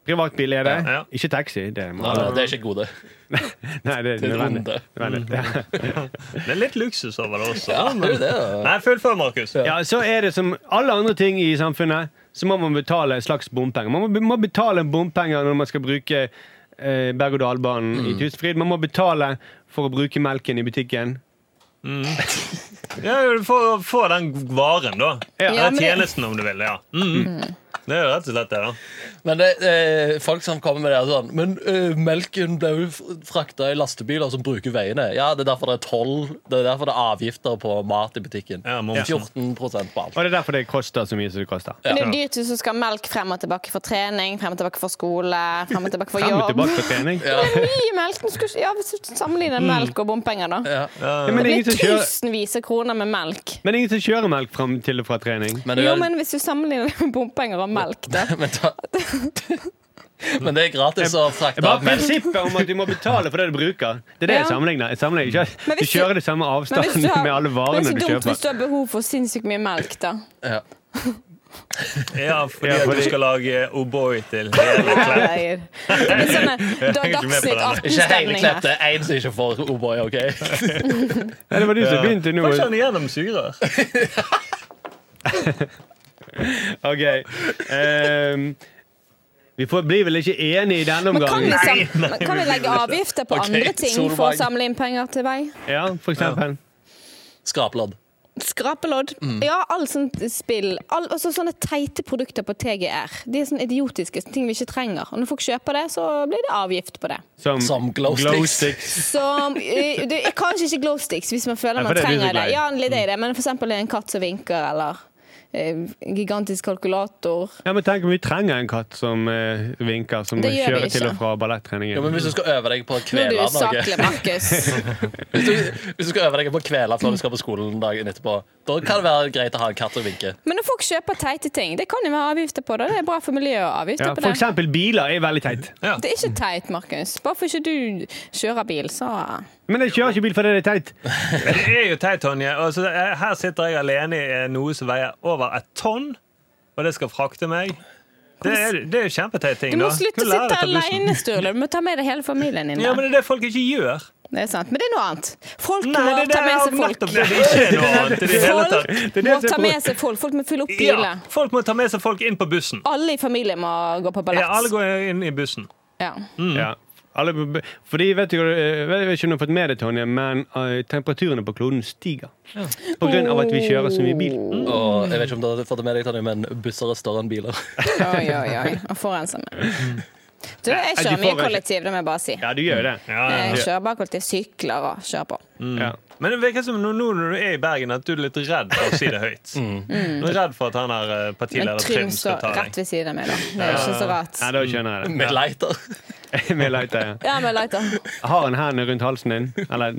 Privatbil er det, Ja, ja. ikke taxi. Det må Nei, alle nei, det er ikke et gode. Nei, det er Det er et nødvendig. onde. nødvendig. Ja. Det er litt luksus over det også. Ja, det er jo det. da. Nei, fullfør, Markus. Ja, så er det som alle andre ting i samfunnet, så må man betale en slags bompenger. Man må, må betale bompenger når man skal bruke eh, berg-og-dal-banen i Tusenfryd. Man må betale for å bruke melken i butikken. Ja, du får, får den varen, da. Ja. Ja, men Eller det- Mm. tjenesten, om du vil. ja. Mm. Det er jo rett og slett det, da. Men det, eh, folk som kommer med det er sånn Men eh, melken ble jo f- frakta i lastebiler som bruker veiene. Ja, det er derfor det er toll. Det er derfor det er avgifter på mat i butikken. Ja, momsen. 14 på alt. Og det er derfor det koster så mye som det koster. Men det er dyrt hvis du skal ha melk frem og tilbake for trening, frem og tilbake for skole, frem og tilbake for Frem og jobb. tilbake på trening. Det er mye melk. Du skal, ja, hvis du sammenligner melk og bompenger, da. Ja. Ja, men, det er Det blir ingen som kjører, tusenvis av kroner med melk. men det er ingen som kjører melk fram til og fra trening. Men, det Jo, er, men hvis du sammenligner det med bompenger og melk, da. men, da, men det er gratis å Det er frakte bare prinsippet om at du må betale for det du bruker. Det er det jeg Ja. sammenligner. Jeg sammenligner ikke. at Men Du hvis du- kjører det samme Men hvis avstanden du har- med alle Men det varene er du så dumt kjøper. hvis du har behov for sinnssykt mye melk, da. ja. Ja, fordi Ja, at fordi- du skal lage eh, O'boy til hele klær. Herregud. Det blir sånn en da- henger ikke med på Dagsnytt den. 18-stemning Ikke hele -stemning klepp. her. Det er én som ikke får O'boy, OK? Ja, det var du som begynte nå. Får ikke han igjennom sugerør? Ok. Ehm, vi får, blir vel ikke enige i denne Men kan vi, omgangen? sam- men kan vi legge avgifter på andre ting for å Solveig. samle inn penger til vei? Ja, for eksempel. Skrapelodd. Skrapelodd. Mm. Ja, all sånt spill. All, også sånne teite produkter på TGR. De er sånne idiotiske sånne ting vi ikke trenger. Og når folk kjøper det, så blir det avgift på det. Som, Som glow sticks. Som eh, det er Kanskje ikke glow sticks hvis man føler Nei, for man det er du så trenger det. glad i. Mm. Ja, litt er det. Men for eksempel en katt som vinker, eller eh, en gigantisk kalkulator. Ja, men tenk om vi trenger en katt som eh, vinker, som Det gjør vi kjører til ikke. og fra Ja, men ballettreningen. hvis du skal øve deg på å Nå er kvele du noe usaklig, Markus. hvis du, hvis du skal øve deg på å kvele før du skal på skolen dagen etterpå, da kan det være greit å ha en katt og vinke. Men når folk kjøper teite ting, det kan jo være avgifter på det. Det er bra for miljøet å ha avgifter Ja, på for det. eksempel biler er veldig teit. Ja. Det er ikke teit, Markus. Bare for ikke du kjører bil, så Men jeg kjører ikke bil fordi det er teit. Det er jo teit, Tonje. Altså, jeg- her sitter jeg alene i eh, noe som veier over et tonn, og det skal frakte meg. Det er, det er jo kjempeteit ting. Du må da. slutte å Kunne lære sitte det til bussen. alene, Sturle. Du må ta med deg hele familien din. Ja, Der. men det er det folk ikke gjør. Det er sant. Men det er noe annet. Folk Nei, må det er ta med det- seg folk. nettopp det det ikke er noe annet i det hele tatt. Det Folk er det som må er ta pro- med seg folk. Folk må fylle opp Ja, biler. folk må ta med seg folk inn på bussen. Alle i familien må gå på Ja, alle ballett. går inn i bussen. Ja. Ja. Alle, fordi, vet du, hva- jeg vet ikke om du har fått med det, Tonje, men eh, temperaturene på kloden stiger. På grunn av at vi kjører så mye bil. Oh. Og jeg vet ikke om du har fått det med deg, Tony, men busser er større enn biler. Oi, oi, oi. Og forurenser meg. Du, jeg de kjører mye får- kollektiv, det må jeg bare si. Ja, du gjør jo det. Mm. Ja, ja. Jeg kjører bare kollektiv. Sykler og kjører på. Ja. Men det virker som nå nå når du er i Bergen, at du er litt redd for å si det høyt. Du er redd for at han her eh, Mm. Men partileder Trym Trym skal står ta rett deg. ved siden av meg, da. Det er ikke så rart. ja, da skjønner jeg det. Med lighter. Vi leter, ja. Ja, med lighter. Har han hendene rundt halsen din? Eller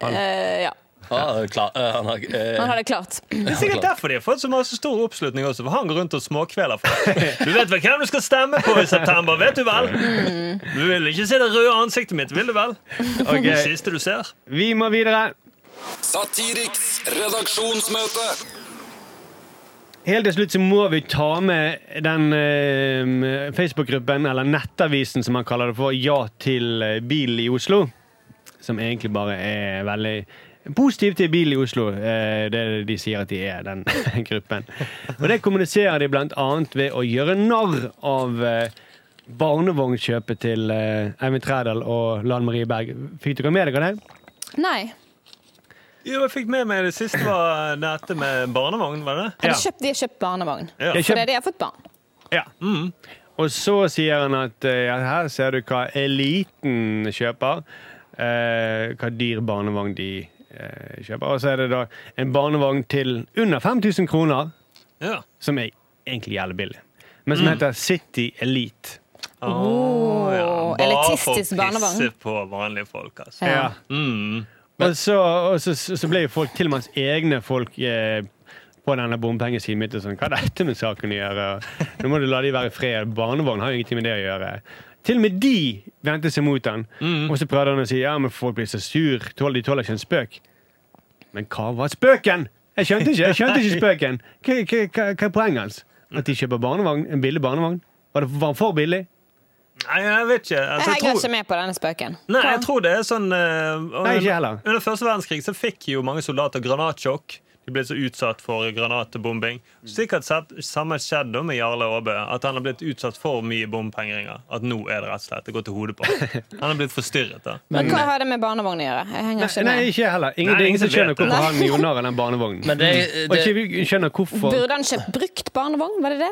Eh, ja. Ah, klar, eh, han har, eh, Han har det klart. Det er sikkert derfor de har fått så masse stor oppslutning også, for han går rundt og småkveler folk. Du vet vel hvem du skal stemme på i september, vet du vel? Mm. Du vil ikke se det røde ansiktet mitt, vil du vel? Det Ok, siste du ser. vi må videre. Satiriks redaksjonsmøte. Helt til slutt så må vi ta med den eh, Facebook-gruppen, eller nettavisen som man kaller det for, Ja til eh, bil i Oslo. Som egentlig bare er veldig positiv til bil i Oslo. eh, det er det de sier at de er, den gruppen. Og det kommuniserer de blant annet ved å gjøre narr av eh, barnevognkjøpet til eh, Eivind Trædal og Lan Marie Berg. Fikk dere med dere det? Nei. Jo, jeg fikk med meg det siste var dette med barnevogn, var det det? Har Ja. de, kjøpt, de har kjøpt barnevogn. Ja. Jeg Fordi kjøp- de har fått barn. Ja. Mm. Og så sier han at eh, ja, her ser du hva eliten kjøper. eh, hva dyr barnevogn de eh, kjøper. Og så er det da en barnevogn til under 5000 kroner, Ja. som er egentlig jævlig billig. Men som heter City Elite. Oh, ja. Bare for Åh, å elitistisk barnevogn. pisse på vanlige folk, altså. Ja. Mm. Og, så, og så, så ble jo folk, til og med hans egne folk, eh, på denne bompengesiden mitt og sånn Hva har dette med saken å gjøre? Nå må du la de være i fred. Barnevogn har jo ingenting med det å gjøre. Til og med de vendte seg mot han. Og så prøvde han å si ja, men folk blir så sur. Tåler, de tåler ikke en spøk. Men hva var spøken? Jeg skjønte ikke jeg skjønte ikke spøken. Hva, hva, hva, hva er poenget hans? At de kjøper barnevogn, en billig barnevogn? Var, det, var han for billig? Nei, jeg vet ikke. Altså, Jeg jeg henger tror... ikke med på denne spøken. Nei, Hva? jeg tror det er sånn eh, Nei, ikke heller. Under første verdenskrig så fikk jo mange soldater granatsjokk. De ble så utsatt for granatbombing. Sikkert sett, samme skjedde med Jarle Aabe. At han har blitt utsatt for mye bompengeringer. At nå er det rett og slett det går til hodet på. Han har blitt forstyrret. da. Men hva har det med barnevogn å gjøre? Jeg henger ikke Nei, med. ikke heller. Ingen, Nei, det er ingen som ingen skjønner vet det. hvorfor han gjorde narr av den barnevognen. Mm. Men det, Og det, ikke vi skjønner hvorfor. Burde han kjøpt brukt barnevogn? Var det det?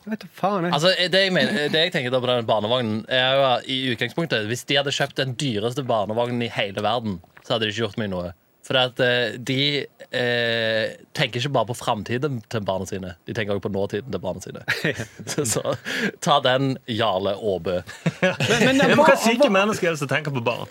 Jeg vet da faen, jeg. Altså, det jeg, mener, det jeg tenker da på den barnevognen er jo at i utgangspunktet, Hvis de hadde kjøpt den dyreste barnevognen i hele verden, så hadde det ikke gjort meg noe. For at eh, de eh, tenker ikke bare på framtiden til barna sine, de tenker også på nåtiden til barna sine. Så, så ta den, Jarle Aabø. Men, men, den Men var, Hva syke mennesker er det som tenker på barn?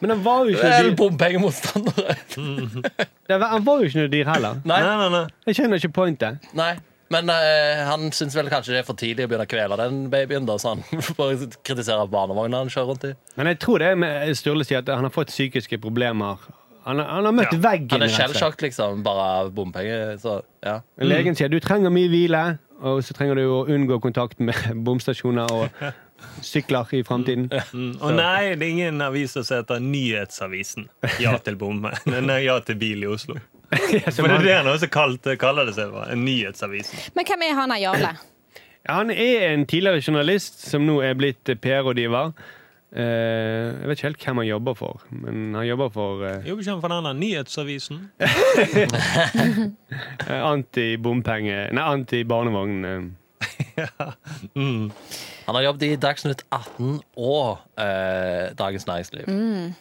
men den var jo ikke noe Vel, dyr, bompengemotstandere! den var- den var jo ikke noe dyr heller. Nei. Nei, nei, nei. Jeg skjønner ikke pointet. Nei. Men eh, han syns vel kanskje det er for tidlig å begynne å kvele den babyen, da, så han bare kritiserer barnevogna han kjører rundt i. Men jeg tror det er med Sturle sier at han har fått psykiske problemer. Han har, han har møtt Ja, veggen. Han er rett og slett. skjellsjokk, liksom, bare av bompenger. Så, ja. Legen sier du trenger mye hvile, og så trenger du å unngå kontakt med bomstasjoner og sykler i framtiden. Mm, Og nei, det er ingen avis som heter Nyhetsavisen. Ja til bomme. Nei, ja til bil i Oslo. For det er det han også kalt, kaller det seg. for, Nyhetsavisen. Men hvem er han her, Jarle? Han er en tidligere journalist som nå er blitt PR-rådgiver. Eh, Jeg vet ikke helt hvem han jobber for, men han jobber for eh, Jobber ikke han for den der Nyhetsavisen? anti-bompenge... Nei, anti-barnevogn. eh. Han har jobbet i Dagsnytt 18 og eh, Dagens Næringsliv. Men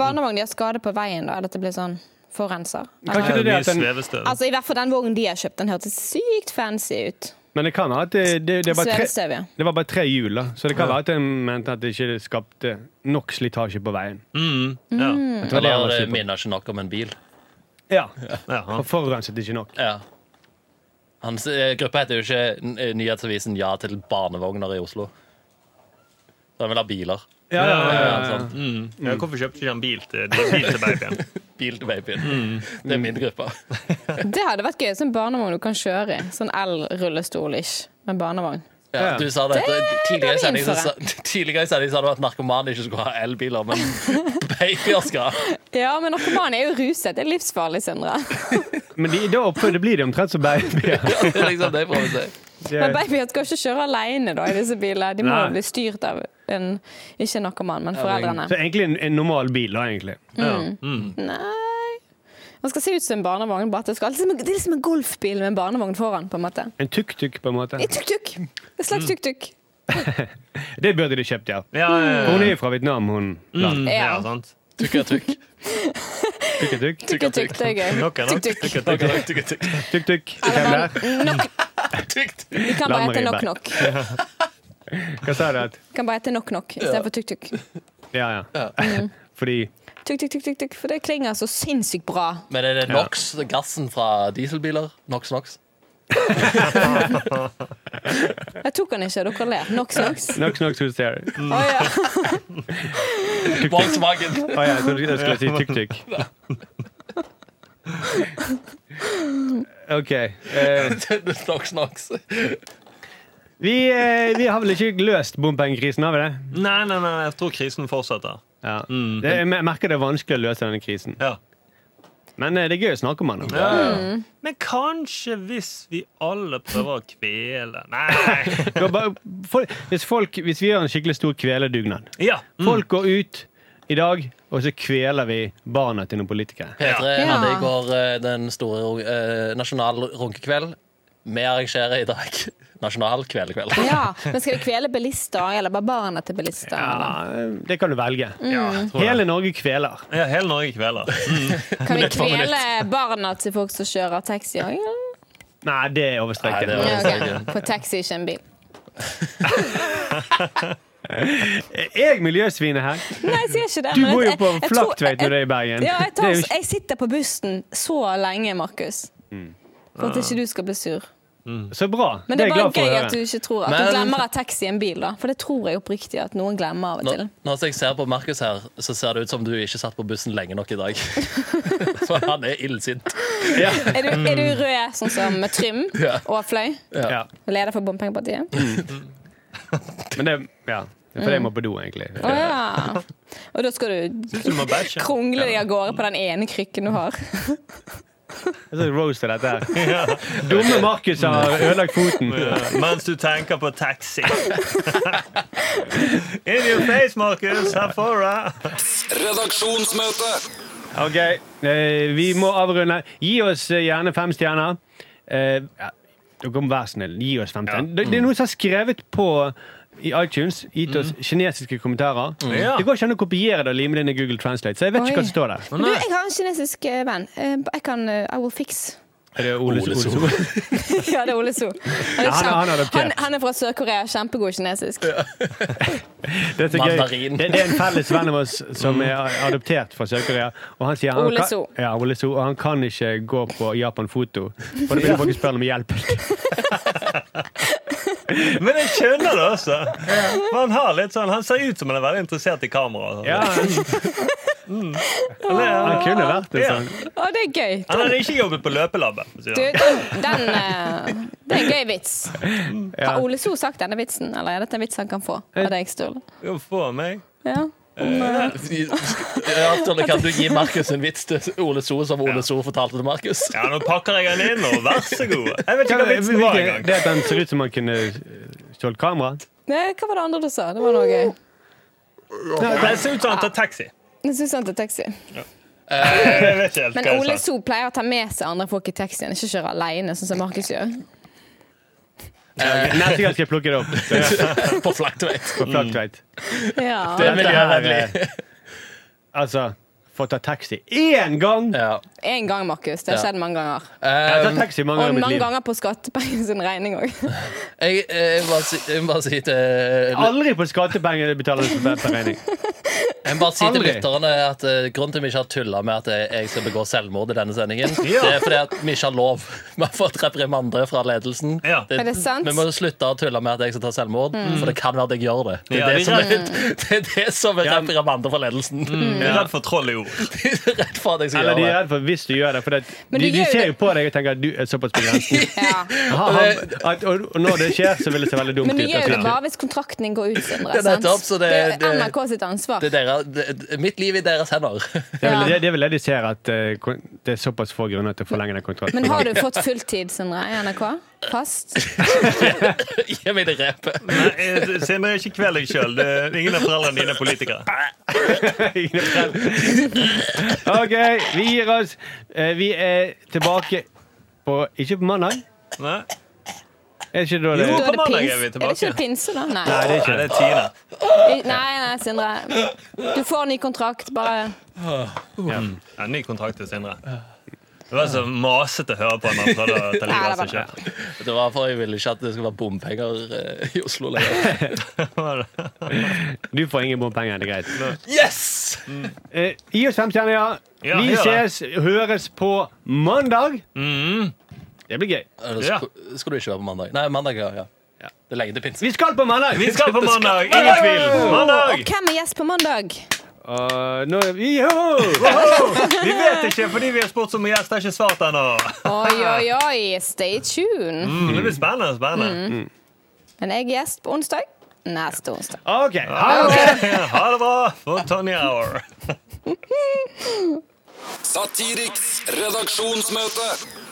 barnevogn de har skade på veien, da? Eller at det blir sånn forurenser? Eller? Kanskje det er det Mye at den, svevestøv. Altså, I hvert fall den vognen de har kjøpt, den hørtes sykt fancy ut. men det kan være at det, det, det, var tre, Svevestøv, ja. det var bare tre hjul, da. Så det kan være at de mente at det ikke skapte nok slitasje på veien. Mm, ja. Det var det han Eller var det sur på. minner ikke nok om en bil. Ja, ja, han- Og forurenset ikke nok. Ja. Hans eh, gruppe heter jo ikke N- eh, Nyhetsavisen Ja til barnevogner i Oslo. Så han vil ha biler. sånn Ja, ja, ja, Ja, ja. sant. mm. ja, hvorfor kjøpte ikke han bil til, bil til babyen? Bil til babyen. Det er min gruppe. Det hadde vært gøy. Sånn barnevogn du kan kjøre i. Sånn el-rullestol-ish, men barnevogn. Ja, du sa det, Det- tidligere, i det vil jeg sendingen så sa- tidligere i sendingen sa du at narkomane ikke skulle ha elbiler, men babyer skal. Ja, men narkomane er jo ruset. Det er livsfarlig, Sindre. Men de, da oppe, det blir det omtrent som babyer. Ja, det er liksom det jeg prøver å si. Men babyer skal ikke kjøre alene da, i disse bilene. De må Nei. jo bli styrt av en ikke narkoman, men foreldrene. Så egentlig en, en normal bil, da, egentlig. Ja. Mm. Nei Han skal se ut som en barnevogn. Bare at det, skal, det er liksom- det er liksom en golfbil med en barnevogn foran, på en måte. En tuk-tuk, på en måte. En tuk-tuk. En slags tuk-tuk. Det burde de kjøpt, ja. Ja, ja, ja. Hun er jo fra Vietnam, hun. Mm. Mm, Ja. ja, sant. Tukka tukk. Tuk-tuk. Tuk-tuk, det er gøy. Nok er nok. Tuk-tuk. Tuk, tuk, tuk. Tuk-tuk. Hvem Eller der? nok, vi kan La bare Marie hete Berg. nok-nok. Hva sa du? at- Vi kan bare hete nok-nok istedenfor tuk-tuk. Ja, ja. Fordi Tuk-tuk-tuk, for det klinger så sinnssykt bra. Men er det NOx, gassen fra dieselbiler? NOx, NOx? Jeg tok den ikke, dere ler. Nox-nox. Knock knock who's there? Å ja. Tuk-tuk. Volkswagen. Å Ah, ja, jeg trodde jeg skulle si tuk-tuk. OK. Eh, NOx, NOx. vi, eh, vi har vel ikke løst bompengekrisen, har vi det? Nei, nei, nei, jeg tror krisen fortsetter. Ja. det? Jeg merker det er vanskelig å løse denne krisen. Ja. Men eh, det er gøy å snakke om den. Ja, ja. Mm. Men kanskje hvis vi alle prøver å kvele Nei! Det var bare- fol- Hvis, folk, hvis vi gjør en skikkelig stor kveledugnad Ja. Mm. Folk går ut i dag, og så kveler vi barna til noen politikere. P3 Ja. hadde i går eh, den store eh, nasjonal runkekveld. Vi arrangerer i dag nasjonal kvelekveld. ja. Men skal vi kvele bilister, eller bare barna til bilister? Eller? Ja, det kan du velge. Ja, jeg tror det. Hele Norge kveler. ja, hele Norge kveler. Kan vi kvele barna til folk som kjører taxi òg? Nei, det er over Nei, streken. det er Ja, ok. For taxi er ikke en bil. Er jeg miljøsvinet her? Nei, jeg sier ikke det. Du men bor jo jeg- på jeg- jeg tror- Flaktveit når du er i Bergen. Ja, jeg, Det tar, er jo ikke- jeg sitter på bussen så lenge, Markus. For at ikke du skal bli sur. Så bra. Men det Mm. jeg er bare glad for å gøy at du høre. ikke tror at Men- du glemmer at taxi er en bil, da. For det tror jeg oppriktig at noen glemmer av og til. Nå, når jeg ser på Markus her, så ser det ut som du ikke satt på bussen lenge nok i dag. For han er illsint. Ja. Er du, er du rød sånn som med Trym Mm. Ja. og Fløy? Ja. Leder for Bompengepartiet? Men det ja. Det er fordi jeg må på do, egentlig. Å ja. Og da skal du Syns du må bæsje? krongle deg av gårde på den ene krykken du har. Jeg skal roaste dette her. Dumme Markus har ødelagt foten. Ja, eh, Mens du tenker på taxi. In your face, Markus! Herfra! Redaksjonsmøte. Ok, eh, vi må avrunde. Gi oss eh, gjerne fem stjerner. Eh, ja, Dere må være snill, gi oss 15. Det, det er noen som har skrevet på i iTunes, gitt oss kinesiske kommentarer. Ja. Det går ikke an å kopiere det og lime det inn i Google Translate, så jeg vet ikke Oi. hva som står der. Å, Du, nei. jeg har en kinesisk eh, venn. Eh, Jeg kan eh, I will fix. Er det Ole, Ole So? So. Ole So? Ja, det er Ole So. Han han er- han er, er kjem- adoptert. han, han er fra Sør-Korea. Kjempegod kinesisk. Det er så gøy. Mandarin. Det, det er en felles venn av oss som er adoptert fra Sør-Korea. Og han sier han Ole kan- So. Ja, Ole So. Og han kan ikke gå på Japan Foto. Og da begynner folk å spørre om hjelp. Men jeg skjønner det også. For han, har litt sånn, han ser ut som han er veldig interessert i kamera. og sånn. Ja, han, Han, han er, kunne vært det sånn. Å, det er gøy. han har ikke jobbet på løpelabben. for å si Du, det. den, den, eh, det er en gøy vits. Ja. Har Ole So sagt denne vitsen, eller er dette en vits han kan få av deg, Sturle? Jo, få meg. Ja. Eh. eh, Ja, Tone, kan du gi Markus en vits til Ole So, som Ole So fortalte til Markus? Ja, nå pakker jeg den inn, og vær så god. Jeg vet ikke hva vitsen var Hvilke- engang. Det at han ser ut som han kunne stjålet kamera. Nei, hva var det andre du sa? Det var noe gøy. Det ser ut som han tar taxi. Jeg synes han tar taxi. Jeg vet ikke helt Men hva Ole jeg sa. So pleier å ta med seg andre folk i taxien, ikke kjøre alene, sånn som Markus gjør. Neste gang skal jeg plukke det opp. Det er På flaktveit. på flatt veit. Ja. Mm. Det er miljøvennlig. eh, Altså, få ta taxi én gang! Jeg Ja. Én gang, Markus. Det har Ja. skjedd mange ganger. har Eh, tatt taxi mange Og ganger i mitt mange liv. ganger på skattepengene sin regning òg. jeg, eh, jeg, må bare si, jeg må bare si til eh, Aldri på skattepenger betaler jeg for for regning. Jeg må bare si til Aldri. lytterne at eh, Grunnen til at vi ikke har tulla med at eh, jeg skal begå selvmord i denne sendingen, Ja. det er fordi at vi ikke har lov. Vi har fått reprimande fra ledelsen. Ja. Er det sant? Mm. Vi må slutte å tulle med at jeg skal ta selvmord, for det kan være at jeg gjør det. Det er, Ja, det, de som er- er, det, er det som er Ja. Mm. reprimande fra ledelsen. Jeg er redd for troll i ord. De er redd for at jeg skal Eller de er gjøre det. redd for hvis du gjør det. For det, Men de, du gjør de jo ser jo det. på deg og tenker at du er såpass begrenset. Ja. Ha, ha, at, og, og når det skjer, så vil det se veldig dumt ut. Men du gjør jo det altså. bare hvis kontrakten din går ut, Sindre. Det er sant? nettopp, så det- Det er det- NRK sitt ansvar. Det er deres, det, mitt liv i deres hender. Det er vel- Ja. det- det er vel det de ser, at eh, kon- det er såpass få grunner til å forlenge den kontrakten. Men har du fått fulltid, Sindre, i NRK? Fast? Gi meg det repet. Nei, eh, Sindre, ikke kvel deg sjøl. Ingen av foreldrene dine er politikere. OK, vi gir oss. Eh, Vi er tilbake på Ikke på mandag? Nei? Er ikke det da det Jo. Da på er det mandag er pins- vi er det tilbake. ikke pinse, da? Nei. Nei, det er Nei, ikke det det. er Tina. Nei, nei, Sindre. Du får ny kontrakt, bare Ja, ny kontrakt til Sindre. Det var så masete å høre på når han prøvde å ta livet av seg sjøl. Det var for jeg ville ikke at det skulle være bompenger eh, i Oslo lenger. Du får ingen bompenger, det er greit. Yes! Eh, gi oss fem stjerner, ja. Ja, Vi gjør det. ses, høres på mandag. Mm. Det blir gøy. Eller Ja. sk- Skal du ikke være på mandag? Nei, mandag, ja. ja. Det er lenge til pinse. Vi skal på mandag! Vi skal på mandag! Ingen tvil! Og Mandag! hvem er gjest på mandag? Og nå er vi Joho! Vi vet ikke, fordi vi har spurt så mye gjest, har ikke svart ennå. Oi, oi, oi, stay tuned. Mm, det blir spennende. spennende. Men jeg er gjest på onsdag. Neste onsdag. OK. Ha det! Ha det bra for Tony Hour. Satiriks redaksjonsmøte.